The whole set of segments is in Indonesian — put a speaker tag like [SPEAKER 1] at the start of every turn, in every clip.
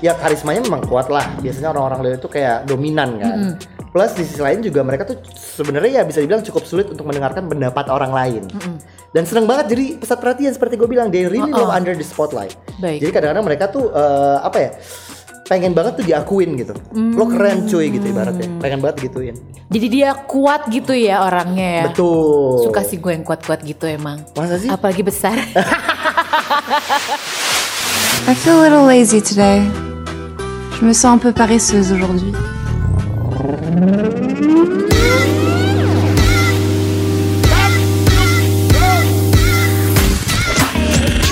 [SPEAKER 1] ya karismanya memang kuat lah. Biasanya orang-orang Leo itu kayak dominan kan. Plus di sisi lain juga mereka tuh sebenarnya ya bisa dibilang cukup sulit untuk mendengarkan pendapat orang lain. Dan seneng banget jadi pusat perhatian seperti gue bilang they really
[SPEAKER 2] Uh-uh.
[SPEAKER 1] love under the spotlight.
[SPEAKER 2] Baik.
[SPEAKER 1] Jadi kadang-kadang mereka tuh eh, apa ya? pengen banget tuh diakuin gitu. Lo
[SPEAKER 2] Mm.
[SPEAKER 1] keren cuy gitu ibaratnya. Pengen banget gituin.
[SPEAKER 2] Jadi dia kuat gitu ya orangnya ya.
[SPEAKER 1] Betul.
[SPEAKER 2] Suka sih gue yang kuat-kuat gitu emang.
[SPEAKER 1] Masa sih?
[SPEAKER 2] Apalagi besar.
[SPEAKER 3] I feel a little lazy today. Je me sens un peu paresseuse aujourd'hui.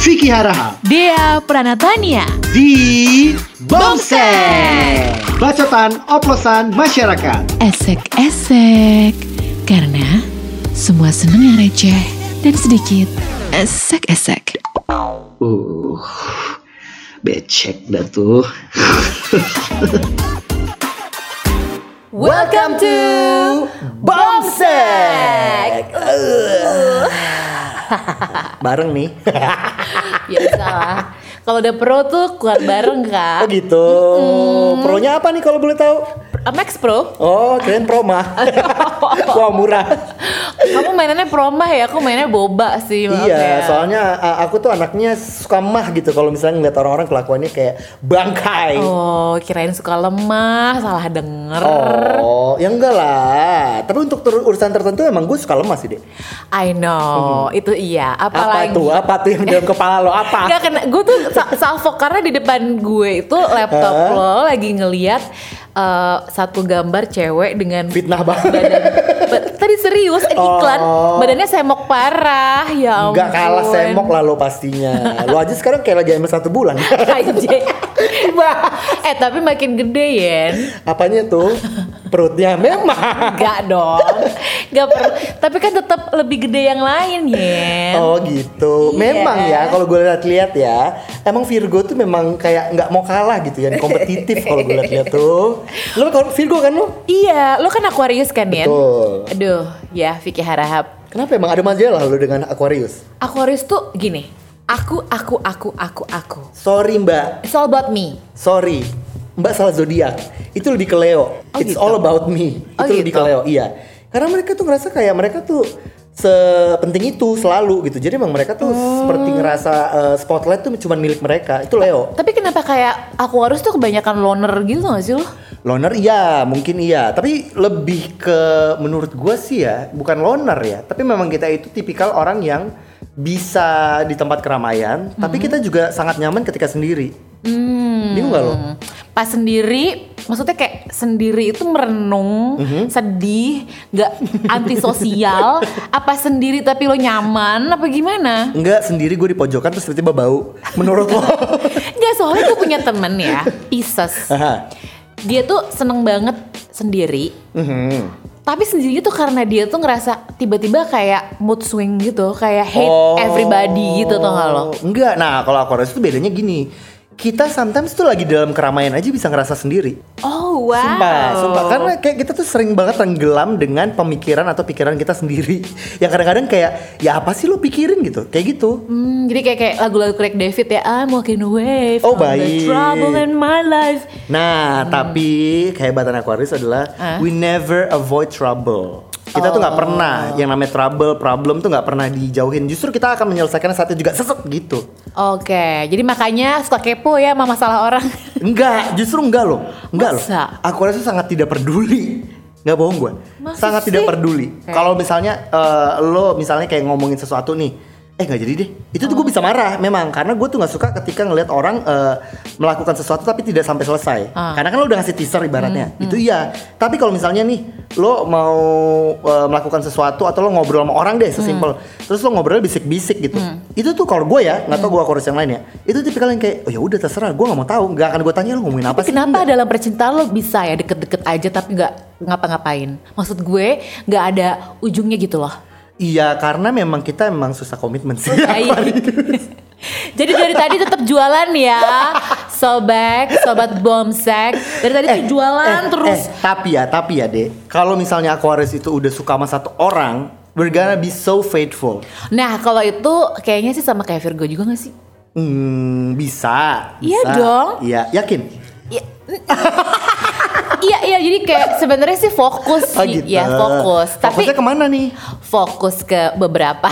[SPEAKER 1] Vicky Haraha
[SPEAKER 2] dia Pranatania.
[SPEAKER 1] di
[SPEAKER 2] Bongseng.
[SPEAKER 1] Bacotan oplosan masyarakat.
[SPEAKER 4] esek-esek karena semua seneng yang receh dan sedikit esek-esek.
[SPEAKER 5] Uh, becek dah tuh.
[SPEAKER 2] Welcome to
[SPEAKER 1] Bongsek. Bareng nih.
[SPEAKER 2] Ya salah. Kalau udah pro tuh kuat
[SPEAKER 1] Oh
[SPEAKER 2] bareng kan.
[SPEAKER 1] gitu. Pronya apa nih kalau boleh tahu?
[SPEAKER 2] Max Pro.
[SPEAKER 1] Oh, keren proma. Wah, murah.
[SPEAKER 2] Kamu mainannya promah ya, aku mainnya boba sih. maaf
[SPEAKER 1] Iya,
[SPEAKER 2] ya.
[SPEAKER 1] soalnya a- aku tuh anaknya suka mah gitu kalau misalnya ngeliat orang-orang kelakuannya kayak bangkai.
[SPEAKER 2] Oh, kirain suka lemah, salah denger.
[SPEAKER 1] Oh, ya enggak lah. Tapi untuk tur- urusan tertentu emang gue suka lemas sih deh.
[SPEAKER 2] I know, itu iya.
[SPEAKER 1] Hmm. Apa
[SPEAKER 2] Apalagi
[SPEAKER 1] tuh? Apa tuh yang dalam kepala lo? Apa?
[SPEAKER 2] Gak kena, gue tuh sa- salvo karena di depan gue itu laptop
[SPEAKER 1] Hah?
[SPEAKER 2] lo lagi ngeliat eh, satu gambar cewek dengan
[SPEAKER 1] Fitnah banget.
[SPEAKER 2] badan. ba- tadi serius, eh, iklan
[SPEAKER 1] Oh.
[SPEAKER 2] badannya semok parah, ya ampun.
[SPEAKER 1] Enggak kalah semok lah lo pastinya. Lo aja sekarang kayak lagi hamil satu bulan.
[SPEAKER 2] Anjing. eh tapi makin gede Yen
[SPEAKER 1] Apanya tuh? Perutnya memang.
[SPEAKER 2] Enggak dong Gak per- Tapi kan tetap lebih gede yang lain Yen
[SPEAKER 1] Oh gitu.
[SPEAKER 2] Iya.
[SPEAKER 1] Memang ya kalau gue lihat-lihat ya, emang Virgo tuh memang kayak nggak mau kalah gitu ya, kompetitif kalau gue lihat-lihat tuh. Lo kan Virgo kan lo?
[SPEAKER 2] Iya, lo kan Aquarius kan Yen
[SPEAKER 1] Betul.
[SPEAKER 2] Aduh, ya Vicky Harahap
[SPEAKER 1] Kenapa emang ada majalah lo dengan Aquarius?
[SPEAKER 2] Aquarius tuh gini, aku aku aku aku aku.
[SPEAKER 1] Sorry Mbak,
[SPEAKER 2] It's all about me.
[SPEAKER 1] sorry. Mbak salah zodiak. Itu lebih ke Leo.
[SPEAKER 2] Oh,
[SPEAKER 1] It's
[SPEAKER 2] gitu.
[SPEAKER 1] all about me.
[SPEAKER 2] Oh,
[SPEAKER 1] itu lebih
[SPEAKER 2] gitu.
[SPEAKER 1] ke Leo. Iya. Karena mereka tuh ngerasa kayak mereka tuh sepenting itu selalu gitu. Jadi emang mereka
[SPEAKER 2] Oh.
[SPEAKER 1] tuh seperti ngerasa eh, spotlight tuh cuma milik mereka. Itu Leo.
[SPEAKER 2] Tapi kenapa kayak Aquarius tuh kebanyakan loner gitu gak sih lo?
[SPEAKER 1] Loner iya, mungkin iya. Tapi lebih ke menurut gua sih ya, bukan loner ya. Tapi memang kita itu tipikal orang yang bisa di tempat keramaian, tapi
[SPEAKER 2] Mm-hmm.
[SPEAKER 1] kita juga sangat nyaman ketika sendiri.
[SPEAKER 2] Hmm.
[SPEAKER 1] Bingung gak lo?
[SPEAKER 2] Pas sendiri, maksudnya kayak sendiri itu merenung, sedih, gak antisosial, apa sendiri tapi lo nyaman, apa gimana?
[SPEAKER 1] Enggak, sendiri gue di pojokan terus tiba-tiba bau. Menurut lo?
[SPEAKER 2] Enggak, soalnya gue punya temen ya, Pisces.
[SPEAKER 1] Aha.
[SPEAKER 2] Dia tuh seneng banget sendiri,
[SPEAKER 1] Mhm.
[SPEAKER 2] tapi sendirinya tuh karena dia tuh ngerasa tiba-tiba kayak mood swing gitu, kayak hate
[SPEAKER 1] Oh.
[SPEAKER 2] everybody gitu tuh gak lo?
[SPEAKER 1] Enggak. Nah, kalau Aquarius itu bedanya gini. Kita sometimes tuh lagi dalam keramaian aja bisa ngerasa sendiri.
[SPEAKER 2] Oh wow.
[SPEAKER 1] Sumpah, sumpah. Karena kayak kita tuh sering banget tenggelam dengan pemikiran atau pikiran kita sendiri. Yang kadang-kadang kayak, ya apa sih lo pikirin gitu? Kayak gitu.
[SPEAKER 2] Hmm, jadi kayak kayak lagu-lagu Craig David ya I'm walking away
[SPEAKER 1] Oh,
[SPEAKER 2] from the
[SPEAKER 1] baik.
[SPEAKER 2] trouble in my life.
[SPEAKER 1] Nah,
[SPEAKER 2] Hmm.
[SPEAKER 1] tapi kehebatan Aquarius adalah
[SPEAKER 2] Hah?
[SPEAKER 1] we never avoid trouble. Kita tuh nggak pernah
[SPEAKER 2] Oh.
[SPEAKER 1] yang namanya trouble, problem tuh nggak pernah dijauhin. Justru kita akan menyelesaikan saatnya juga seset gitu.
[SPEAKER 2] Oke, jadi makanya suka kepo ya sama masalah orang.
[SPEAKER 1] Enggak, justru enggak loh. Enggak loh.
[SPEAKER 2] Masa?
[SPEAKER 1] Aquarius tuh sangat tidak peduli. Enggak bohong gue.
[SPEAKER 2] Masa
[SPEAKER 1] Sangat
[SPEAKER 2] sih?
[SPEAKER 1] tidak peduli.
[SPEAKER 2] Oke.
[SPEAKER 1] Kalau misalnya eh, lo misalnya kayak ngomongin sesuatu nih, eh nggak jadi deh. Itu tuh gue bisa marah memang karena gue tuh nggak suka ketika ngelihat orang eh, melakukan sesuatu tapi tidak sampai selesai.
[SPEAKER 2] Ah.
[SPEAKER 1] Karena kan lo udah ngasih teaser ibaratnya. Itu iya. Tapi kalau misalnya nih lo mau eh, melakukan sesuatu atau lo ngobrol sama orang deh sesimpel. Terus lo ngobrol bisik-bisik gitu. Itu tuh kalau gue ya, nggak tau gue Aquarius yang lain ya. Itu tipikal yang kayak oh ya udah terserah, gue nggak mau tahu, nggak akan gue tanya lo ngomongin apa
[SPEAKER 2] Tapi
[SPEAKER 1] sih.
[SPEAKER 2] kenapa dalam percintaan lo bisa ya deket-deket aja tapi nggak ngapa-ngapain? Maksud gue nggak ada ujungnya gitu loh.
[SPEAKER 1] Iya, karena memang kita memang susah komitmen sih.
[SPEAKER 2] Baik. Jadi dari tadi tetap jualan ya, sobek, sobat bomsek. Dari tadi tuh jualan
[SPEAKER 1] Eh,
[SPEAKER 2] terus.
[SPEAKER 1] eh, tapi ya, tapi ya, Dek. Kalau misalnya Aquarius itu udah suka sama satu orang, we're gonna be so faithful.
[SPEAKER 2] Nah kalau itu kayaknya sih sama kayak Virgo juga gak sih?
[SPEAKER 1] Hmm, bisa.
[SPEAKER 2] Iya
[SPEAKER 1] bisa.
[SPEAKER 2] dong.
[SPEAKER 1] Iya, yakin.
[SPEAKER 2] Iya. Iya iya jadi kayak sebenarnya sih fokus
[SPEAKER 1] Ah,
[SPEAKER 2] sih
[SPEAKER 1] gitu.
[SPEAKER 2] ya fokus tapi
[SPEAKER 1] Fokusnya kemana nih?
[SPEAKER 2] fokus ke beberapa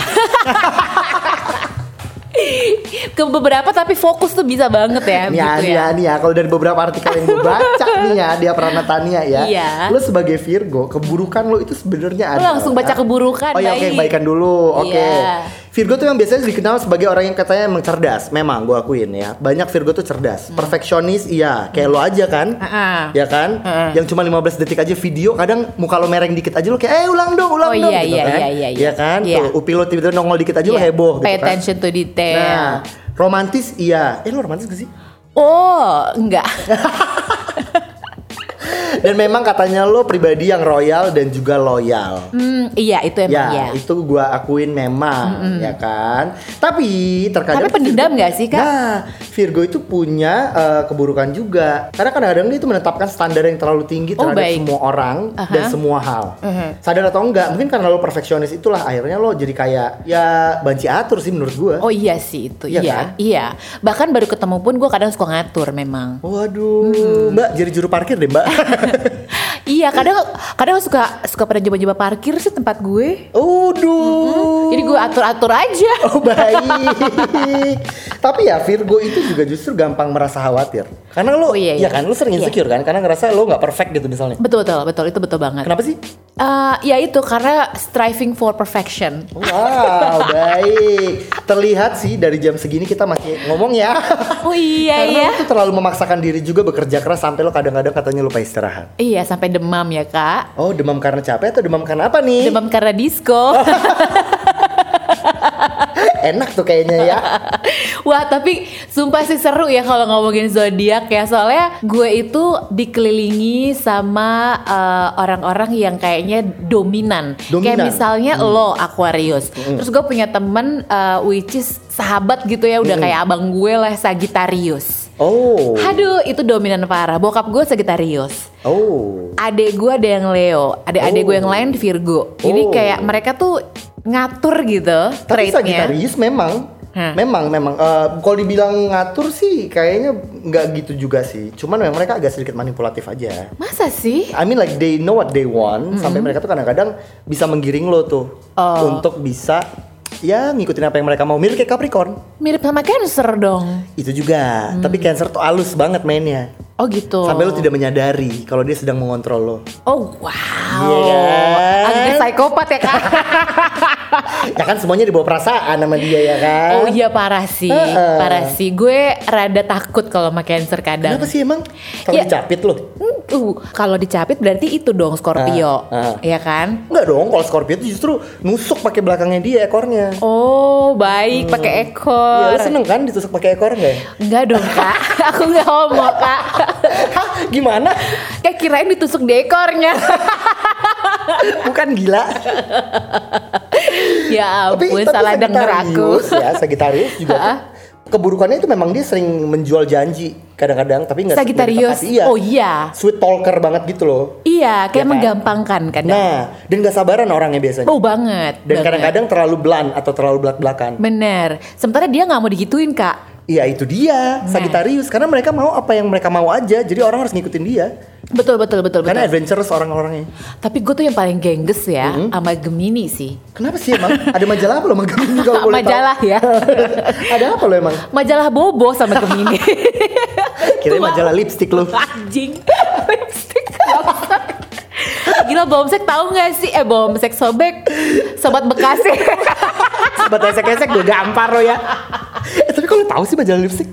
[SPEAKER 2] ke beberapa tapi fokus tuh bisa banget ya
[SPEAKER 1] Nih ya,
[SPEAKER 2] gitu
[SPEAKER 1] nih
[SPEAKER 2] ya
[SPEAKER 1] ya, nih ya. Kalau dari beberapa artikel yang gue baca nih ya, dia Pranatania ya.
[SPEAKER 2] Iya.
[SPEAKER 1] Lo sebagai Virgo, keburukan lo itu sebenarnya ada.
[SPEAKER 2] Lu langsung baca keburukan,
[SPEAKER 1] Oh ya, oke,
[SPEAKER 2] baik.
[SPEAKER 1] kebaikan dulu. Oke.
[SPEAKER 2] Iya.
[SPEAKER 1] Virgo tuh yang biasanya dikenal sebagai orang yang katanya emang cerdas. Memang gue akuin ya. Banyak Virgo tuh
[SPEAKER 2] Hmm.
[SPEAKER 1] cerdas. Perfeksionis, iya. Kayak lo aja kan.
[SPEAKER 2] Heeh.
[SPEAKER 1] Ya kan?
[SPEAKER 2] Hmm.
[SPEAKER 1] Yang cuma 15 detik aja video, kadang muka lo mereng dikit aja lo kayak, eh ulang dong, ulang
[SPEAKER 2] Oh,
[SPEAKER 1] dong.
[SPEAKER 2] iya,
[SPEAKER 1] gitu
[SPEAKER 2] iya,
[SPEAKER 1] kan.
[SPEAKER 2] iya, iya, iya.
[SPEAKER 1] Ya kan?
[SPEAKER 2] Iya.
[SPEAKER 1] Tuh, upi lo tiba-tiba nongol dikit aja lo
[SPEAKER 2] Iya,
[SPEAKER 1] heboh
[SPEAKER 2] pay
[SPEAKER 1] gitu kan.
[SPEAKER 2] attention iya. to detail
[SPEAKER 1] Nah, romantis iya. Eh lo romantis gak sih?
[SPEAKER 2] oh enggak
[SPEAKER 1] Dan memang katanya lo pribadi yang royal dan juga loyal.
[SPEAKER 2] Hmm, iya itu emang ya,
[SPEAKER 1] Ya, itu gua akuin memang, ya kan. Tapi terkadang
[SPEAKER 2] Tapi pendendam nggak sih, Kak?
[SPEAKER 1] Nah, Virgo itu punya eh, keburukan juga. Karena kadang-kadang dia itu menetapkan standar yang terlalu tinggi
[SPEAKER 2] Oh,
[SPEAKER 1] terhadap
[SPEAKER 2] baik.
[SPEAKER 1] semua orang
[SPEAKER 2] Aha. Mm-hmm.
[SPEAKER 1] dan semua hal. Sadar atau enggak, mungkin karena lo perfeksionis itulah akhirnya lo jadi kayak ya banci atur sih menurut gua.
[SPEAKER 2] Oh iya sih itu
[SPEAKER 1] Iya
[SPEAKER 2] iya
[SPEAKER 1] kan?
[SPEAKER 2] iya bahkan baru ketemu pun gue kadang suka ngatur memang
[SPEAKER 1] Waduh,
[SPEAKER 2] Mm-hmm.
[SPEAKER 1] Mbak jadi juru parkir deh, Mbak.
[SPEAKER 2] iya kadang kadang suka suka pada coba-coba parkir sih tempat gue
[SPEAKER 1] Waduh.
[SPEAKER 2] jadi gue atur-atur aja
[SPEAKER 1] Oh baik. Tapi ya Virgo itu juga justru gampang merasa khawatir. Karena lo,
[SPEAKER 2] Oh, iya,
[SPEAKER 1] ya
[SPEAKER 2] iya.
[SPEAKER 1] kan, lo sering
[SPEAKER 2] Iya.
[SPEAKER 1] insecure kan, karena ngerasa lo nggak perfect gitu misalnya.
[SPEAKER 2] betul betul betul itu betul banget
[SPEAKER 1] Kenapa sih?
[SPEAKER 2] Eh, ya itu karena striving for perfection.
[SPEAKER 1] Wow, baik. Terlihat sih dari jam segini kita masih ngomong ya.
[SPEAKER 2] Oh iya
[SPEAKER 1] Karena
[SPEAKER 2] iya.
[SPEAKER 1] lo tuh terlalu memaksakan diri juga bekerja keras sampai lo kadang-kadang katanya lupa istirahat.
[SPEAKER 2] Iya sampai demam ya kak.
[SPEAKER 1] Oh, demam karena capek atau demam karena apa nih?
[SPEAKER 2] Demam karena disco.
[SPEAKER 1] Enak tuh kayaknya ya.
[SPEAKER 2] Wah tapi sumpah sih seru ya kalau ngomongin zodiak ya soalnya gue itu dikelilingi sama eh, orang-orang yang kayaknya dominan. Kayak
[SPEAKER 1] Dominan.
[SPEAKER 2] misalnya lo Aquarius. Terus gue punya temen eh, which is sahabat gitu ya udah kayak abang gue lah Sagittarius.
[SPEAKER 1] Oh.
[SPEAKER 2] Aduh itu dominan parah. Bokap gue Sagittarius.
[SPEAKER 1] Oh.
[SPEAKER 2] adek gue ada yang Leo, adik-adik
[SPEAKER 1] Oh.
[SPEAKER 2] gue yang lain Virgo. Jadi
[SPEAKER 1] Oh.
[SPEAKER 2] kayak mereka tuh ngatur gitu
[SPEAKER 1] Tapi
[SPEAKER 2] traitnya.
[SPEAKER 1] Sagittarius memang
[SPEAKER 2] Hah.
[SPEAKER 1] Memang, memang. Eh, kalau dibilang ngatur sih, kayaknya nggak gitu juga sih. Cuman memang mereka agak sedikit manipulatif aja.
[SPEAKER 2] Masa sih?
[SPEAKER 1] I mean like they know what they want, sampai mereka tuh kadang-kadang bisa menggiring lo tuh
[SPEAKER 2] Mm-hmm. Oh.
[SPEAKER 1] untuk bisa ya ngikutin apa yang mereka mau. Mirip kayak Capricorn
[SPEAKER 2] Mirip sama Cancer dong.
[SPEAKER 1] itu juga. Tapi Cancer tuh halus banget mainnya,
[SPEAKER 2] Hmm. Oh gitu.
[SPEAKER 1] sampai lo tidak menyadari kalau dia sedang mengontrol lo.
[SPEAKER 2] Oh wow.
[SPEAKER 1] Iya kan?
[SPEAKER 2] Agak psikopat ya kak.
[SPEAKER 1] ya kan semuanya dibawa perasaan sama dia ya kan.
[SPEAKER 2] oh iya parah sih,
[SPEAKER 1] Heeh.
[SPEAKER 2] parah sih. Gue rada takut kalau sama Cancer kadang.
[SPEAKER 1] Kenapa sih emang? Kalau
[SPEAKER 2] Iya.
[SPEAKER 1] dicapit lo?
[SPEAKER 2] Hmm, Uh, kalau dicapit berarti itu dong Scorpio,
[SPEAKER 1] Ah, ah.
[SPEAKER 2] ya kan?
[SPEAKER 1] Enggak dong, kalau Scorpio itu justru nusuk pakai belakangnya dia ekornya.
[SPEAKER 2] Oh baik,
[SPEAKER 1] Iya,
[SPEAKER 2] pakai ekor.
[SPEAKER 1] lu seneng kan ditusuk pakai ekor enggak? ya?
[SPEAKER 2] Enggak dong kak, aku nggak homo kak.
[SPEAKER 1] Hah, gimana?
[SPEAKER 2] Kayak kirain ditusuk di ekornya.
[SPEAKER 1] Bukan gila.
[SPEAKER 2] ya ampun, salah denger aku.
[SPEAKER 1] Sagittarius ya, Sagittarius juga tuh,
[SPEAKER 2] Hah?
[SPEAKER 1] keburukannya itu memang dia sering menjual janji kadang-kadang, tapi enggak
[SPEAKER 2] Sagittarius. Oh iya.
[SPEAKER 1] Sweet talker banget gitu loh.
[SPEAKER 2] Iya,
[SPEAKER 1] Iya
[SPEAKER 2] kayak
[SPEAKER 1] kan?
[SPEAKER 2] menggampangkan kadang.
[SPEAKER 1] Nah, dan gak sabaran orangnya biasanya.
[SPEAKER 2] oh banget.
[SPEAKER 1] Dan
[SPEAKER 2] banget.
[SPEAKER 1] kadang-kadang terlalu belan atau terlalu belak-belakan.
[SPEAKER 2] Bener. Sementara dia nggak mau digituin kak.
[SPEAKER 1] Iya itu dia,
[SPEAKER 2] Nah.
[SPEAKER 1] Sagittarius. Karena mereka mau apa yang mereka mau aja, jadi orang harus ngikutin dia.
[SPEAKER 2] Betul betul betul
[SPEAKER 1] Karena
[SPEAKER 2] betul.
[SPEAKER 1] adventurous orang-orangnya.
[SPEAKER 2] Tapi gue tuh yang paling gengges ya sama Gemini sih.
[SPEAKER 1] Kenapa sih emang? Ada majalah apa lo emang Gemini kalau Oh, boleh tahu?
[SPEAKER 2] Majalah ya.
[SPEAKER 1] Ada apa lo emang?
[SPEAKER 2] Majalah bobo sama Gemini.
[SPEAKER 1] Kirain majalah lipstick lo.
[SPEAKER 2] Anjing. Lipstick. Bomsek. Gila Bomsek tahu nggak sih? Eh Bomsek sobek. Sobat Bekasi.
[SPEAKER 1] Sobat esek-esek gue gampar lo ya. Eh tapi kalau tahu sih majalah lipstick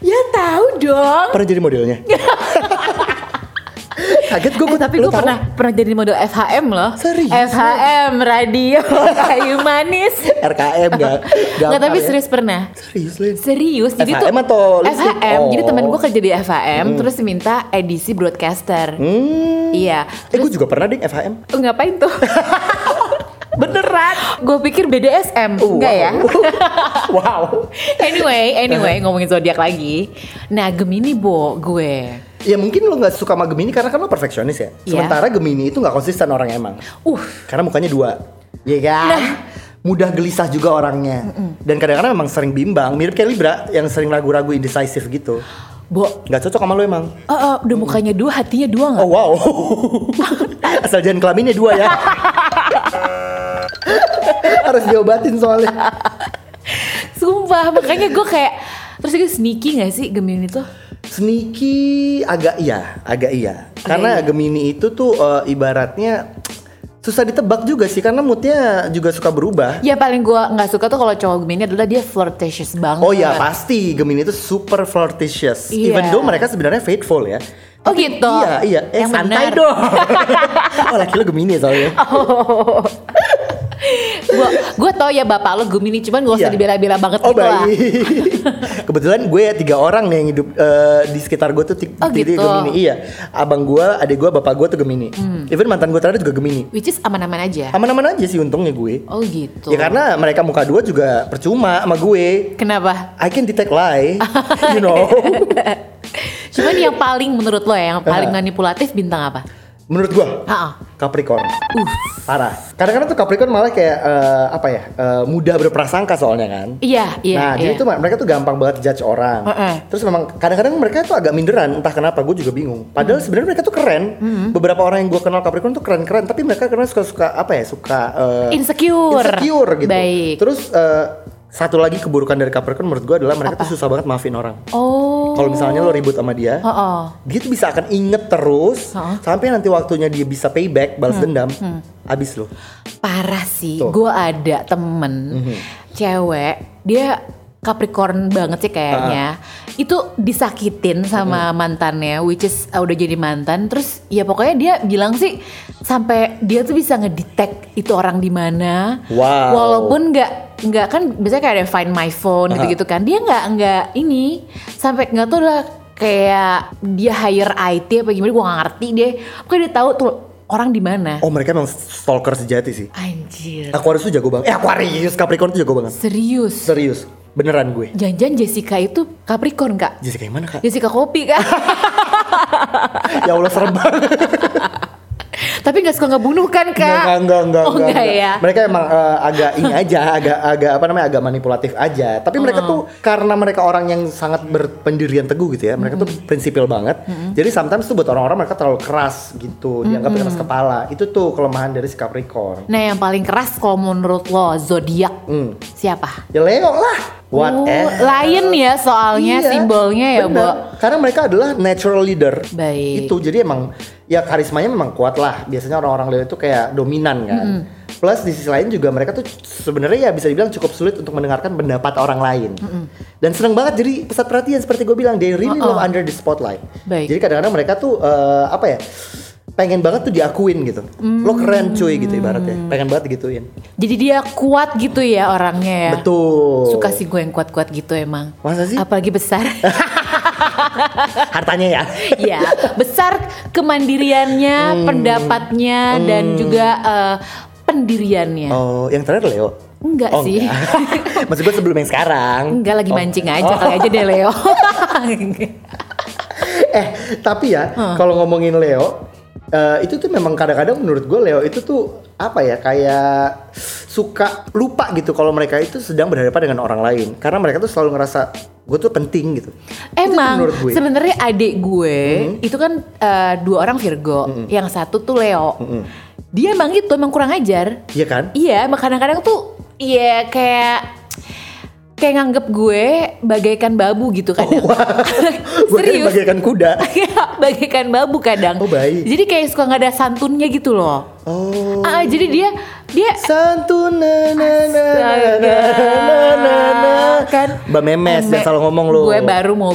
[SPEAKER 2] Ya tahu dong.
[SPEAKER 1] pernah jadi modelnya. Kaget gue,
[SPEAKER 2] Eh, tapi gue pernah pernah jadi model FHM loh.
[SPEAKER 1] Serius?
[SPEAKER 2] FHM radio kayu manis.
[SPEAKER 1] RKM gak?
[SPEAKER 2] Nggak tapi serius pernah.
[SPEAKER 1] ya. Serius lo.
[SPEAKER 2] Serius, jadi
[SPEAKER 1] FHM
[SPEAKER 2] tuh
[SPEAKER 1] atau listrik?
[SPEAKER 2] FHM. Jadi
[SPEAKER 1] Oh.
[SPEAKER 2] temen gue kerja di FHM, terus minta edisi broadcaster.
[SPEAKER 1] Hmm.
[SPEAKER 2] Iya.
[SPEAKER 1] Eh gue juga pernah deh FHM.
[SPEAKER 2] Oh, ngapain tuh? Beneran? Gue pikir BDSM, enggak ya?
[SPEAKER 1] Oh, wow.
[SPEAKER 2] anyway, anyway ngomongin zodiak lagi. Nah Gemini bo gue.
[SPEAKER 1] Ya mungkin lo gak suka sama Gemini karena kan lo perfeksionis ya.
[SPEAKER 2] Iya.
[SPEAKER 1] Sementara Gemini itu gak konsisten orang emang.
[SPEAKER 2] Uh,
[SPEAKER 1] Karena mukanya dua, ya kan? Mudah gelisah juga orangnya. Dan kadang-kadang memang sering bimbang, mirip kayak Libra yang sering ragu-ragu indecisive gitu.
[SPEAKER 2] Bo,
[SPEAKER 1] Gak cocok sama lo emang.
[SPEAKER 2] eh, eh, udah mukanya dua, hatinya dua nggak?
[SPEAKER 1] Oh wow. Asal jangan kelaminnya dua ya. Harus diobatin soalnya.
[SPEAKER 2] Sumpah, makanya gue kayak terus itu sneaky gak sih Gemini tuh?
[SPEAKER 1] Sneaky agak iya, agak iya. Karena
[SPEAKER 2] iya.
[SPEAKER 1] Gemini itu tuh eh, ibaratnya susah ditebak juga sih karena moodnya juga suka berubah.
[SPEAKER 2] Ya paling gue nggak suka tuh kalau cowok Gemini adalah dia flirtatious banget.
[SPEAKER 1] Oh ya pasti Gemini itu super flirtatious.
[SPEAKER 2] Iya.
[SPEAKER 1] Even though mereka sebenarnya faithful ya.
[SPEAKER 2] Oh gitu.
[SPEAKER 1] Iya iya. Eh
[SPEAKER 2] Yang
[SPEAKER 1] santai
[SPEAKER 2] benar. Oh,
[SPEAKER 1] dong. oh laki lo Gemini soalnya.
[SPEAKER 2] Gue gue tau ya bapak lo Gemini, cuman gue
[SPEAKER 1] Iya.
[SPEAKER 2] usah dibela-bela banget
[SPEAKER 1] Oh
[SPEAKER 2] gitu lah.
[SPEAKER 1] baik. Kebetulan gue ya tiga orang nih yang hidup eh, di sekitar gue tuh ti-
[SPEAKER 2] Oh,
[SPEAKER 1] tiga
[SPEAKER 2] gitu.
[SPEAKER 1] Gemini. Iya. Abang gue, adik gue, bapak gue tuh Gemini.
[SPEAKER 2] Hmm.
[SPEAKER 1] Even mantan gue terakhir juga Gemini.
[SPEAKER 2] Which is aman-aman aja.
[SPEAKER 1] Aman-aman aja sih untungnya gue.
[SPEAKER 2] Oh gitu.
[SPEAKER 1] Ya karena mereka muka dua juga percuma sama gue.
[SPEAKER 2] Kenapa?
[SPEAKER 1] I can detect lie, you know.
[SPEAKER 2] Cuman yang paling menurut lo ya, yang paling
[SPEAKER 1] Ah.
[SPEAKER 2] manipulatif bintang apa?
[SPEAKER 1] Menurut gue
[SPEAKER 2] Ah, ah.
[SPEAKER 1] Capricorn
[SPEAKER 2] Uh,
[SPEAKER 1] parah. Kadang-kadang tuh Capricorn malah kayak eh, apa ya? eh, mudah berprasangka soalnya kan.
[SPEAKER 2] iya, iya,
[SPEAKER 1] nah, jadi
[SPEAKER 2] iya.
[SPEAKER 1] itu mereka tuh gampang banget judge orang.
[SPEAKER 2] Heeh.
[SPEAKER 1] Terus memang kadang-kadang mereka tuh agak minderan, entah kenapa gue juga bingung.
[SPEAKER 2] Hmm.
[SPEAKER 1] Padahal sebenarnya mereka tuh keren. Beberapa orang yang gue kenal Capricorn tuh keren-keren, tapi mereka karena suka-suka apa ya? Suka eh,
[SPEAKER 2] Insecure.
[SPEAKER 1] insecure gitu.
[SPEAKER 2] Baik.
[SPEAKER 1] Terus eh, satu lagi keburukan dari Capricorn menurut gue adalah mereka tuh susah banget maafin orang.
[SPEAKER 2] Oh.
[SPEAKER 1] Kalau misalnya lo ribut sama dia,
[SPEAKER 2] Oh, oh.
[SPEAKER 1] dia tuh bisa akan inget terus
[SPEAKER 2] Heeh. Hmm.
[SPEAKER 1] sampai nanti waktunya dia bisa payback balas dendam, abis lo.
[SPEAKER 2] Parah sih,
[SPEAKER 1] Tuh. Mhm.
[SPEAKER 2] gue ada temen cewek, dia Capricorn banget sih
[SPEAKER 1] Ah.
[SPEAKER 2] kayaknya. Itu disakitin
[SPEAKER 1] Mhm.
[SPEAKER 2] sama mantannya, which is uh, udah jadi mantan. Terus ya pokoknya dia bilang sih sampai dia tuh bisa ngedetect itu orang di mana.
[SPEAKER 1] Wow.
[SPEAKER 2] Walaupun nggak nggak kan biasanya kayak ada find my phone gitu-gitu kan. Dia nggak nggak ini sampai nggak tuh lah kayak dia hire IT apa gimana gue nggak ngerti deh. Pokoknya dia tahu tuh orang di mana.
[SPEAKER 1] Oh mereka emang stalker sejati sih.
[SPEAKER 2] Anjir.
[SPEAKER 1] Aquarius tuh jago banget. Eh Aquarius Capricorn tuh jago banget.
[SPEAKER 2] Serius.
[SPEAKER 1] Serius, beneran gue.
[SPEAKER 2] Jangan-jangan Jessica itu Capricorn kak?
[SPEAKER 1] Jessica yang mana kak?
[SPEAKER 2] Jessica kopi kak?
[SPEAKER 1] ya Allah serem banget.
[SPEAKER 2] Tapi nggak suka ngebunuh kan kak?
[SPEAKER 1] Enggak, enggak, enggak,
[SPEAKER 2] Oh enggak, ya.
[SPEAKER 1] Mereka emang eh, agak ini aja, agak agak apa namanya, agak manipulatif aja. Tapi mereka
[SPEAKER 2] Hmm.
[SPEAKER 1] tuh karena mereka orang yang sangat berpendirian teguh gitu ya. Mereka tuh
[SPEAKER 2] Hmm.
[SPEAKER 1] prinsipil banget. Jadi sometimes tuh buat orang-orang mereka terlalu keras gitu, dianggap
[SPEAKER 2] Hmm.
[SPEAKER 1] keras kepala. Itu tuh kelemahan dari si Capricorn.
[SPEAKER 2] Nah yang paling keras kalau menurut lo zodiak
[SPEAKER 1] Hmm.
[SPEAKER 2] siapa?
[SPEAKER 1] Ya Leo lah. What
[SPEAKER 2] Oh,
[SPEAKER 1] eh?
[SPEAKER 2] Lion ya soalnya
[SPEAKER 1] Iya,
[SPEAKER 2] simbolnya ya
[SPEAKER 1] benar.
[SPEAKER 2] Bo.
[SPEAKER 1] Karena mereka adalah natural leader.
[SPEAKER 2] Baik.
[SPEAKER 1] Itu jadi emang ya karismanya memang kuat lah. Biasanya orang-orang Leo itu kayak dominan kan.
[SPEAKER 2] Hmm.
[SPEAKER 1] Plus di sisi lain juga mereka tuh sebenarnya ya bisa dibilang cukup sulit untuk mendengarkan pendapat orang lain.
[SPEAKER 2] Hmm.
[SPEAKER 1] Dan seneng banget jadi pusat perhatian seperti gue bilang they really love under the spotlight.
[SPEAKER 2] Uh-uh. Baik.
[SPEAKER 1] Jadi kadang-kadang mereka tuh eh, apa ya? pengen banget tuh diakuin gitu. Lo keren cuy
[SPEAKER 2] Hmm.
[SPEAKER 1] gitu ibaratnya. Pengen banget digituin.
[SPEAKER 2] Jadi dia kuat gitu ya orangnya ya.
[SPEAKER 1] Betul.
[SPEAKER 2] Suka sih gue yang kuat-kuat gitu emang.
[SPEAKER 1] Masa sih?
[SPEAKER 2] Apalagi besar.
[SPEAKER 1] Hartanya ya.
[SPEAKER 2] ya, besar
[SPEAKER 1] Hmm.
[SPEAKER 2] kemandiriannya, pendapatnya dan juga eh, pendiriannya.
[SPEAKER 1] Oh, yang terakhir Leo.
[SPEAKER 2] Iya. Enggak
[SPEAKER 1] Oh,
[SPEAKER 2] sih.
[SPEAKER 1] enggak. Maksud gue sebelum yang sekarang.
[SPEAKER 2] Enggak
[SPEAKER 1] Oh.
[SPEAKER 2] lagi mancing
[SPEAKER 1] Oh.
[SPEAKER 2] aja kali aja deh Leo.
[SPEAKER 1] Eh, tapi ya kalau ngomongin Leo, eh, itu tuh memang kadang-kadang menurut gue Leo itu tuh apa ya kayak suka lupa gitu kalau mereka itu sedang berhadapan dengan orang lain karena mereka tuh selalu ngerasa gue tuh penting gitu. Itu tuh
[SPEAKER 2] Emang
[SPEAKER 1] menurut gue. Mm-hmm.
[SPEAKER 2] sebenarnya adik gue itu kan eh, dua orang Virgo, yang satu tuh Leo.
[SPEAKER 1] Mm-hmm.
[SPEAKER 2] Dia emang gitu, emang kurang ajar.
[SPEAKER 1] Iya kan?
[SPEAKER 2] Iya, emang kadang-kadang tuh iya kayak kayak nganggep gue bagaikan babu gitu kadang.
[SPEAKER 1] Oh, Gue kan
[SPEAKER 2] Serius. Iya,
[SPEAKER 1] bagaikan kuda.
[SPEAKER 2] bagaikan babu kadang.
[SPEAKER 1] Oh, baik.
[SPEAKER 2] Jadi kayak suka nggak ada santunnya gitu loh.
[SPEAKER 1] Oh.
[SPEAKER 2] Ah, jadi dia dia
[SPEAKER 1] Santun na na na na na na na na
[SPEAKER 2] Kan.
[SPEAKER 1] Mbak Memes
[SPEAKER 2] Meme-
[SPEAKER 1] jangan selalu ngomong lo.
[SPEAKER 2] Gue baru mau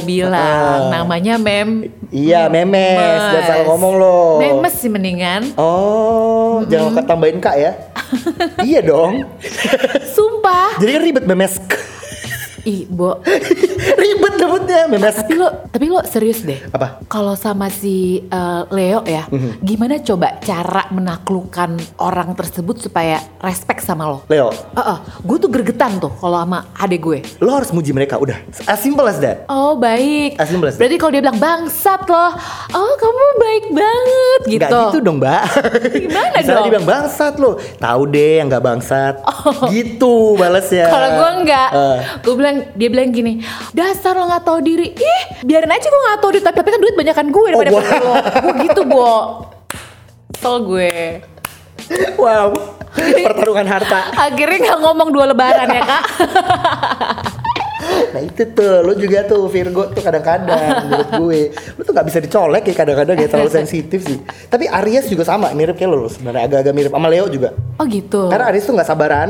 [SPEAKER 1] Ah.
[SPEAKER 2] bilang namanya Mem.
[SPEAKER 1] Iya, memes. Jangan
[SPEAKER 2] Mes.
[SPEAKER 1] salah ngomong lo.
[SPEAKER 2] Memes sih mendingan.
[SPEAKER 1] Oh, jangan lupa tambahin kak ya. iya dong.
[SPEAKER 2] Sumpah.
[SPEAKER 1] Jadi kan ribet memes.
[SPEAKER 2] Ih, Bo.
[SPEAKER 1] ribet nyebutnya memes.
[SPEAKER 2] Tapi lo, tapi lo serius deh.
[SPEAKER 1] Apa? Mhm.
[SPEAKER 2] Kalau sama si eh, Leo ya, gimana coba cara menaklukkan orang tersebut supaya respect sama lo?
[SPEAKER 1] Leo,
[SPEAKER 2] Eh, eh, gue tuh gergetan tuh kalau sama adek gue.
[SPEAKER 1] lo harus muji mereka. Udah, as simple as that.
[SPEAKER 2] Oh baik.
[SPEAKER 1] As simple as that.
[SPEAKER 2] Berarti kalau dia bilang bangsat loh, oh kamu baik banget gitu.
[SPEAKER 1] Nggak gitu dong, Mbak.
[SPEAKER 2] Gimana
[SPEAKER 1] Misalnya
[SPEAKER 2] dong?
[SPEAKER 1] dibilang bangsat lo. Tahu deh yang nggak bangsat. Gitu balesnya.
[SPEAKER 2] Oh. Kalau gue enggak,
[SPEAKER 1] Eh,
[SPEAKER 2] gue bilang dia bilang gini, dasar lo nggak tahu diri ih biarin aja gue nggak tahu diri tapi, tapi kan duit banyakan gue daripada
[SPEAKER 1] Bo.
[SPEAKER 2] lo gue gitu bo Kesel gue
[SPEAKER 1] Wow, pertarungan harta.
[SPEAKER 2] akhirnya nggak ngomong dua lebaran ya kak
[SPEAKER 1] Nah itu tuh, lu juga tuh Virgo tuh kadang-kadang menurut gue, lu tuh nggak bisa dicolek ya kadang-kadang ya terlalu sensitif sih. Tapi Aries juga sama, mirip kayak lo sebenarnya agak-agak mirip sama Leo juga.
[SPEAKER 2] oh gitu
[SPEAKER 1] Karena Aries tuh nggak sabaran,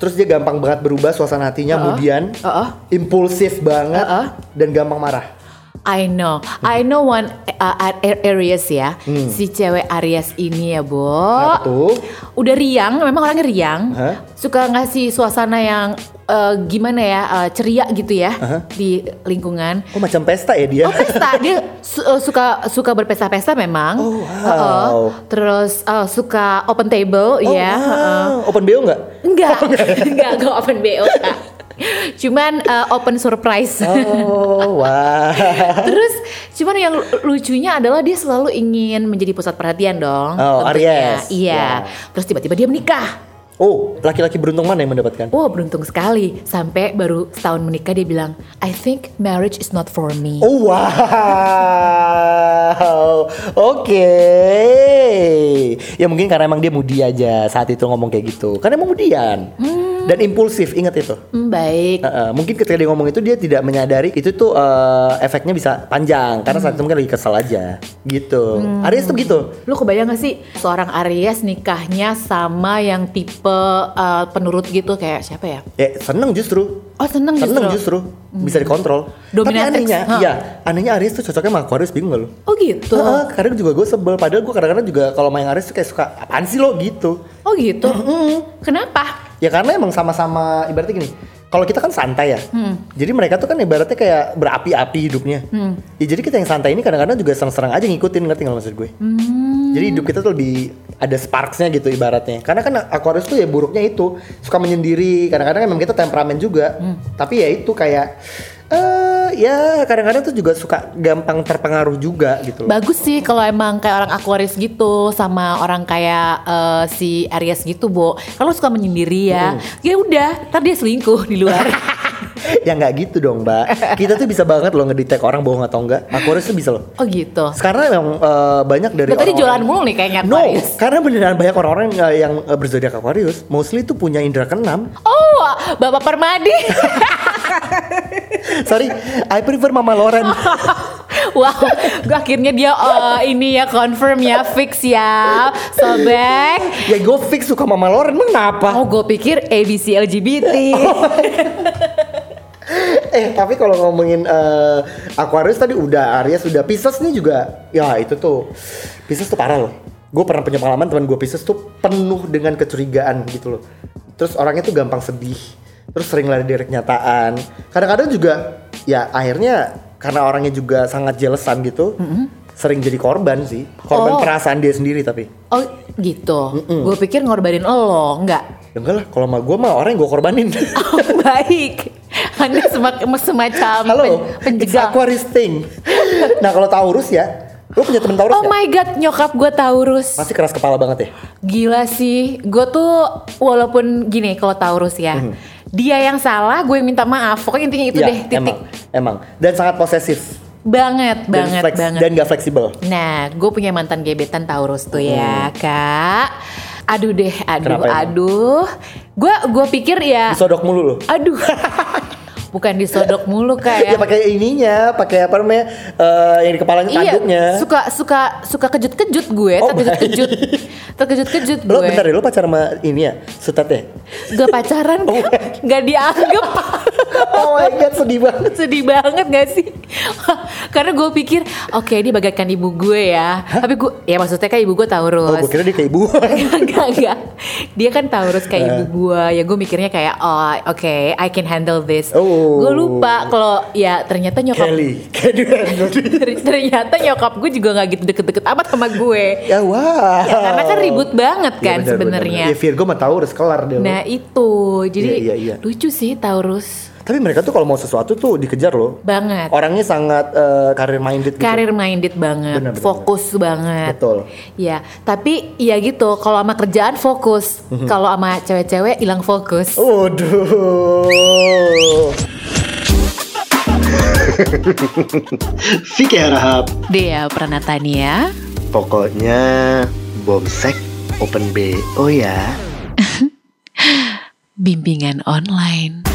[SPEAKER 1] terus dia gampang banget berubah suasana hatinya, kemudian
[SPEAKER 2] Uh-uh.
[SPEAKER 1] impulsif banget
[SPEAKER 2] Uh-uh.
[SPEAKER 1] dan gampang marah.
[SPEAKER 2] I know, I know one uh, Ar- Ar- Aries ya, si cewek Aries ini ya, Bo.
[SPEAKER 1] Hmm. Kenapa tuh?
[SPEAKER 2] Udah riang, memang orangnya riang.
[SPEAKER 1] Hah?
[SPEAKER 2] Suka ngasih suasana yang eh, gimana ya, eh, ceria gitu ya di lingkungan.
[SPEAKER 1] Oh macam pesta ya dia?
[SPEAKER 2] Oh pesta, dia su- eh, suka suka berpesta-pesta memang.
[SPEAKER 1] Oh, wow.
[SPEAKER 2] Heeh. Terus eh, suka open
[SPEAKER 1] Oh,
[SPEAKER 2] table ya. heeh. Oh,
[SPEAKER 1] wow. Open BO nggak?
[SPEAKER 2] Enggak, enggak, gue open BO Kak. Cuman eh, open surprise.
[SPEAKER 1] Oh wah.
[SPEAKER 2] Terus cuman yang lu- lucunya adalah dia selalu ingin menjadi pusat perhatian dong.
[SPEAKER 1] Oh,
[SPEAKER 2] tentunya.
[SPEAKER 1] Aries.
[SPEAKER 2] Iya.
[SPEAKER 1] Ya.
[SPEAKER 2] Terus tiba-tiba dia menikah.
[SPEAKER 1] Oh laki-laki beruntung mana yang mendapatkan?
[SPEAKER 2] Wah beruntung sekali. Sampai baru setahun menikah dia bilang, I think marriage is not for me.
[SPEAKER 1] Oh wow, oke. Ya mungkin karena emang dia mudi aja saat itu ngomong kayak gitu. Karena emang mudian dan impulsif, ingat itu.
[SPEAKER 2] Hmm, baik.
[SPEAKER 1] Uh, uh, mungkin ketika dia ngomong itu dia tidak menyadari itu tuh uh, efeknya bisa panjang karena saat itu mungkin lagi kesel aja gitu.
[SPEAKER 2] Hmm.
[SPEAKER 1] Aries tuh gitu.
[SPEAKER 2] Lu kebayang gak sih seorang Aries nikahnya sama yang tipe uh, penurut gitu kayak siapa ya?
[SPEAKER 1] Ya seneng justru.
[SPEAKER 2] Oh seneng,
[SPEAKER 1] Seneng
[SPEAKER 2] justru.
[SPEAKER 1] justru bisa dikontrol.
[SPEAKER 2] Dominatrix,
[SPEAKER 1] Tapi anehnya,
[SPEAKER 2] ha.
[SPEAKER 1] iya, anehnya Aries tuh cocoknya sama Aquarius bingung gak lu?
[SPEAKER 2] Oh gitu.
[SPEAKER 1] Heeh, kadang juga gue sebel padahal gue kadang-kadang juga kalau main Aries tuh kayak suka apaan sih lo gitu.
[SPEAKER 2] Oh gitu. Kenapa?
[SPEAKER 1] Ya karena emang sama-sama ibaratnya gini. Kalau kita kan santai ya. Jadi mereka tuh kan ibaratnya kayak berapi-api hidupnya. Ya jadi kita yang santai ini kadang-kadang juga serang-serang aja ngikutin ngerti nggak maksud gue? Jadi hidup kita tuh lebih ada sparksnya gitu ibaratnya. Karena kan Aquarius tuh ya buruknya itu suka menyendiri. Kadang-kadang emang kita temperamen juga. Tapi ya itu kayak eh ya kadang-kadang tuh juga suka gampang terpengaruh juga gitu. loh.
[SPEAKER 2] Bagus sih kalau emang kayak orang Aquarius gitu sama orang kayak eh, si Aries gitu, Bo. Kalau suka menyendiri
[SPEAKER 1] Hmm.
[SPEAKER 2] ya, ya udah, ntar dia selingkuh di luar.
[SPEAKER 1] ya nggak gitu dong, Mbak. Kita tuh bisa banget loh ngedetek orang bohong atau enggak. Aquarius tuh bisa loh.
[SPEAKER 2] oh gitu.
[SPEAKER 1] Sekarang memang eh, banyak dari
[SPEAKER 2] Lo tadi
[SPEAKER 1] orang-orang-
[SPEAKER 2] jualan mulu nih kayaknya
[SPEAKER 1] No,
[SPEAKER 2] Aquarius.
[SPEAKER 1] karena beneran banyak orang-orang yang, eh, yang eh, berzodiak Aquarius, mostly tuh punya indera keenam.
[SPEAKER 2] Oh, Bapak Permadi.
[SPEAKER 1] Sorry, I prefer Mama Loren.
[SPEAKER 2] wow, gua akhirnya dia eh, ini ya confirm ya fix ya. Sobek.
[SPEAKER 1] ya gue fix suka Mama Loren, emang kenapa?
[SPEAKER 2] Oh, gue pikir ABC LGBT.
[SPEAKER 1] Eh, tapi kalau ngomongin eh, Aquarius tadi udah, Aries udah, Pisces nih juga. Ya itu tuh, Pisces tuh parah loh. Gue pernah punya pengalaman teman gue Pisces tuh penuh dengan kecurigaan gitu loh. Terus orangnya tuh gampang sedih. Terus sering lari dari kenyataan. Kadang-kadang juga, ya akhirnya karena orangnya juga sangat jelesan gitu, sering jadi korban sih. Korban
[SPEAKER 2] Mm-hmm. Oh.
[SPEAKER 1] perasaan dia sendiri tapi.
[SPEAKER 2] Oh, gitu. Gue pikir ngorbanin lo, enggak.
[SPEAKER 1] Ya enggak lah, kalau sama gue mah orang yang gue korbanin.
[SPEAKER 2] Oh, baik. Anda sema- semacam Ah, pen-
[SPEAKER 1] Halo, it's
[SPEAKER 2] penjegal.
[SPEAKER 1] Aquarius thing. nah kalau Taurus ya, lo punya temen Taurus
[SPEAKER 2] Oh
[SPEAKER 1] nggak?
[SPEAKER 2] my god, nyokap gue Taurus.
[SPEAKER 1] Pasti keras kepala banget ya.
[SPEAKER 2] Gila sih. Gue tuh walaupun gini kalau Taurus ya. Dia yang salah, gue yang minta maaf. Pokoknya intinya itu
[SPEAKER 1] Mm-hmm. Iya,
[SPEAKER 2] deh, titik.
[SPEAKER 1] Emang, emang. Dan sangat posesif.
[SPEAKER 2] Banget,
[SPEAKER 1] dan
[SPEAKER 2] banget,
[SPEAKER 1] fleks-
[SPEAKER 2] banget.
[SPEAKER 1] Dan gak fleksibel.
[SPEAKER 2] Nah, gue punya mantan gebetan Taurus tuh ya, Kak. Aduh deh, aduh,
[SPEAKER 1] Hmm. Kenapa emang?
[SPEAKER 2] aduh. Gue gue pikir ya,
[SPEAKER 1] Disodok mulu loh.
[SPEAKER 2] aduh. Bukan disodok mulu
[SPEAKER 1] Ya
[SPEAKER 2] kayak.
[SPEAKER 1] pakai ininya, pakai apa namanya? eh, yang di kepalanya tanduknya.
[SPEAKER 2] Iya, suka suka suka kejut-kejut gue,
[SPEAKER 1] Oh,
[SPEAKER 2] terkejut-kejut. Terkejut-kejut gue.
[SPEAKER 1] Lo bentar deh, lo pacar sama ini ya, sutet ya?
[SPEAKER 2] Gak pacaran,
[SPEAKER 1] Oh.
[SPEAKER 2] gak dianggap.
[SPEAKER 1] Oh my god, sedih banget.
[SPEAKER 2] Sedih banget gak sih? Karena gue pikir, oke ini bagaikan ibu gue ya. Tapi gue, ya maksudnya kan ibu gue Taurus.
[SPEAKER 1] Oh, gue kira dia kayak ibu.
[SPEAKER 2] Enggak, enggak. Dia kan Taurus kayak
[SPEAKER 1] Eh.
[SPEAKER 2] ibu gua. Ya gue mikirnya kayak oh, oke, I can handle this.
[SPEAKER 1] Oh.
[SPEAKER 2] Gue lupa kalau ya ternyata nyokap
[SPEAKER 1] Kelly. Kelly Randolph.
[SPEAKER 2] ternyata nyokap gue juga nggak gitu deket-deket amat sama gue.
[SPEAKER 1] ya wah.
[SPEAKER 2] Ya, karena kan ribut banget kan
[SPEAKER 1] Iya, benar, benar,
[SPEAKER 2] sebenarnya.
[SPEAKER 1] benar. Ya Virgo sama Taurus kelar deh. lo.
[SPEAKER 2] Nah, itu. Jadi
[SPEAKER 1] Iya, iya, iya.
[SPEAKER 2] lucu sih Taurus
[SPEAKER 1] Tapi mereka tuh kalau mau sesuatu tuh dikejar loh.
[SPEAKER 2] banget.
[SPEAKER 1] Orangnya sangat eh, career minded Oh, gitu.
[SPEAKER 2] Karir minded banget,
[SPEAKER 1] Benar, benar,
[SPEAKER 2] fokus banget.
[SPEAKER 1] Betul.
[SPEAKER 2] Ya, tapi ya gitu. Kalau sama kerjaan fokus,
[SPEAKER 1] Mhm.
[SPEAKER 2] kalau
[SPEAKER 1] Oh.
[SPEAKER 2] sama cewek-cewek hilang fokus.
[SPEAKER 1] Waduh.
[SPEAKER 6] Vicky Harahap
[SPEAKER 7] Dea Pranatania.
[SPEAKER 5] Pokoknya bomsek open BO ya.
[SPEAKER 2] Bimbingan online.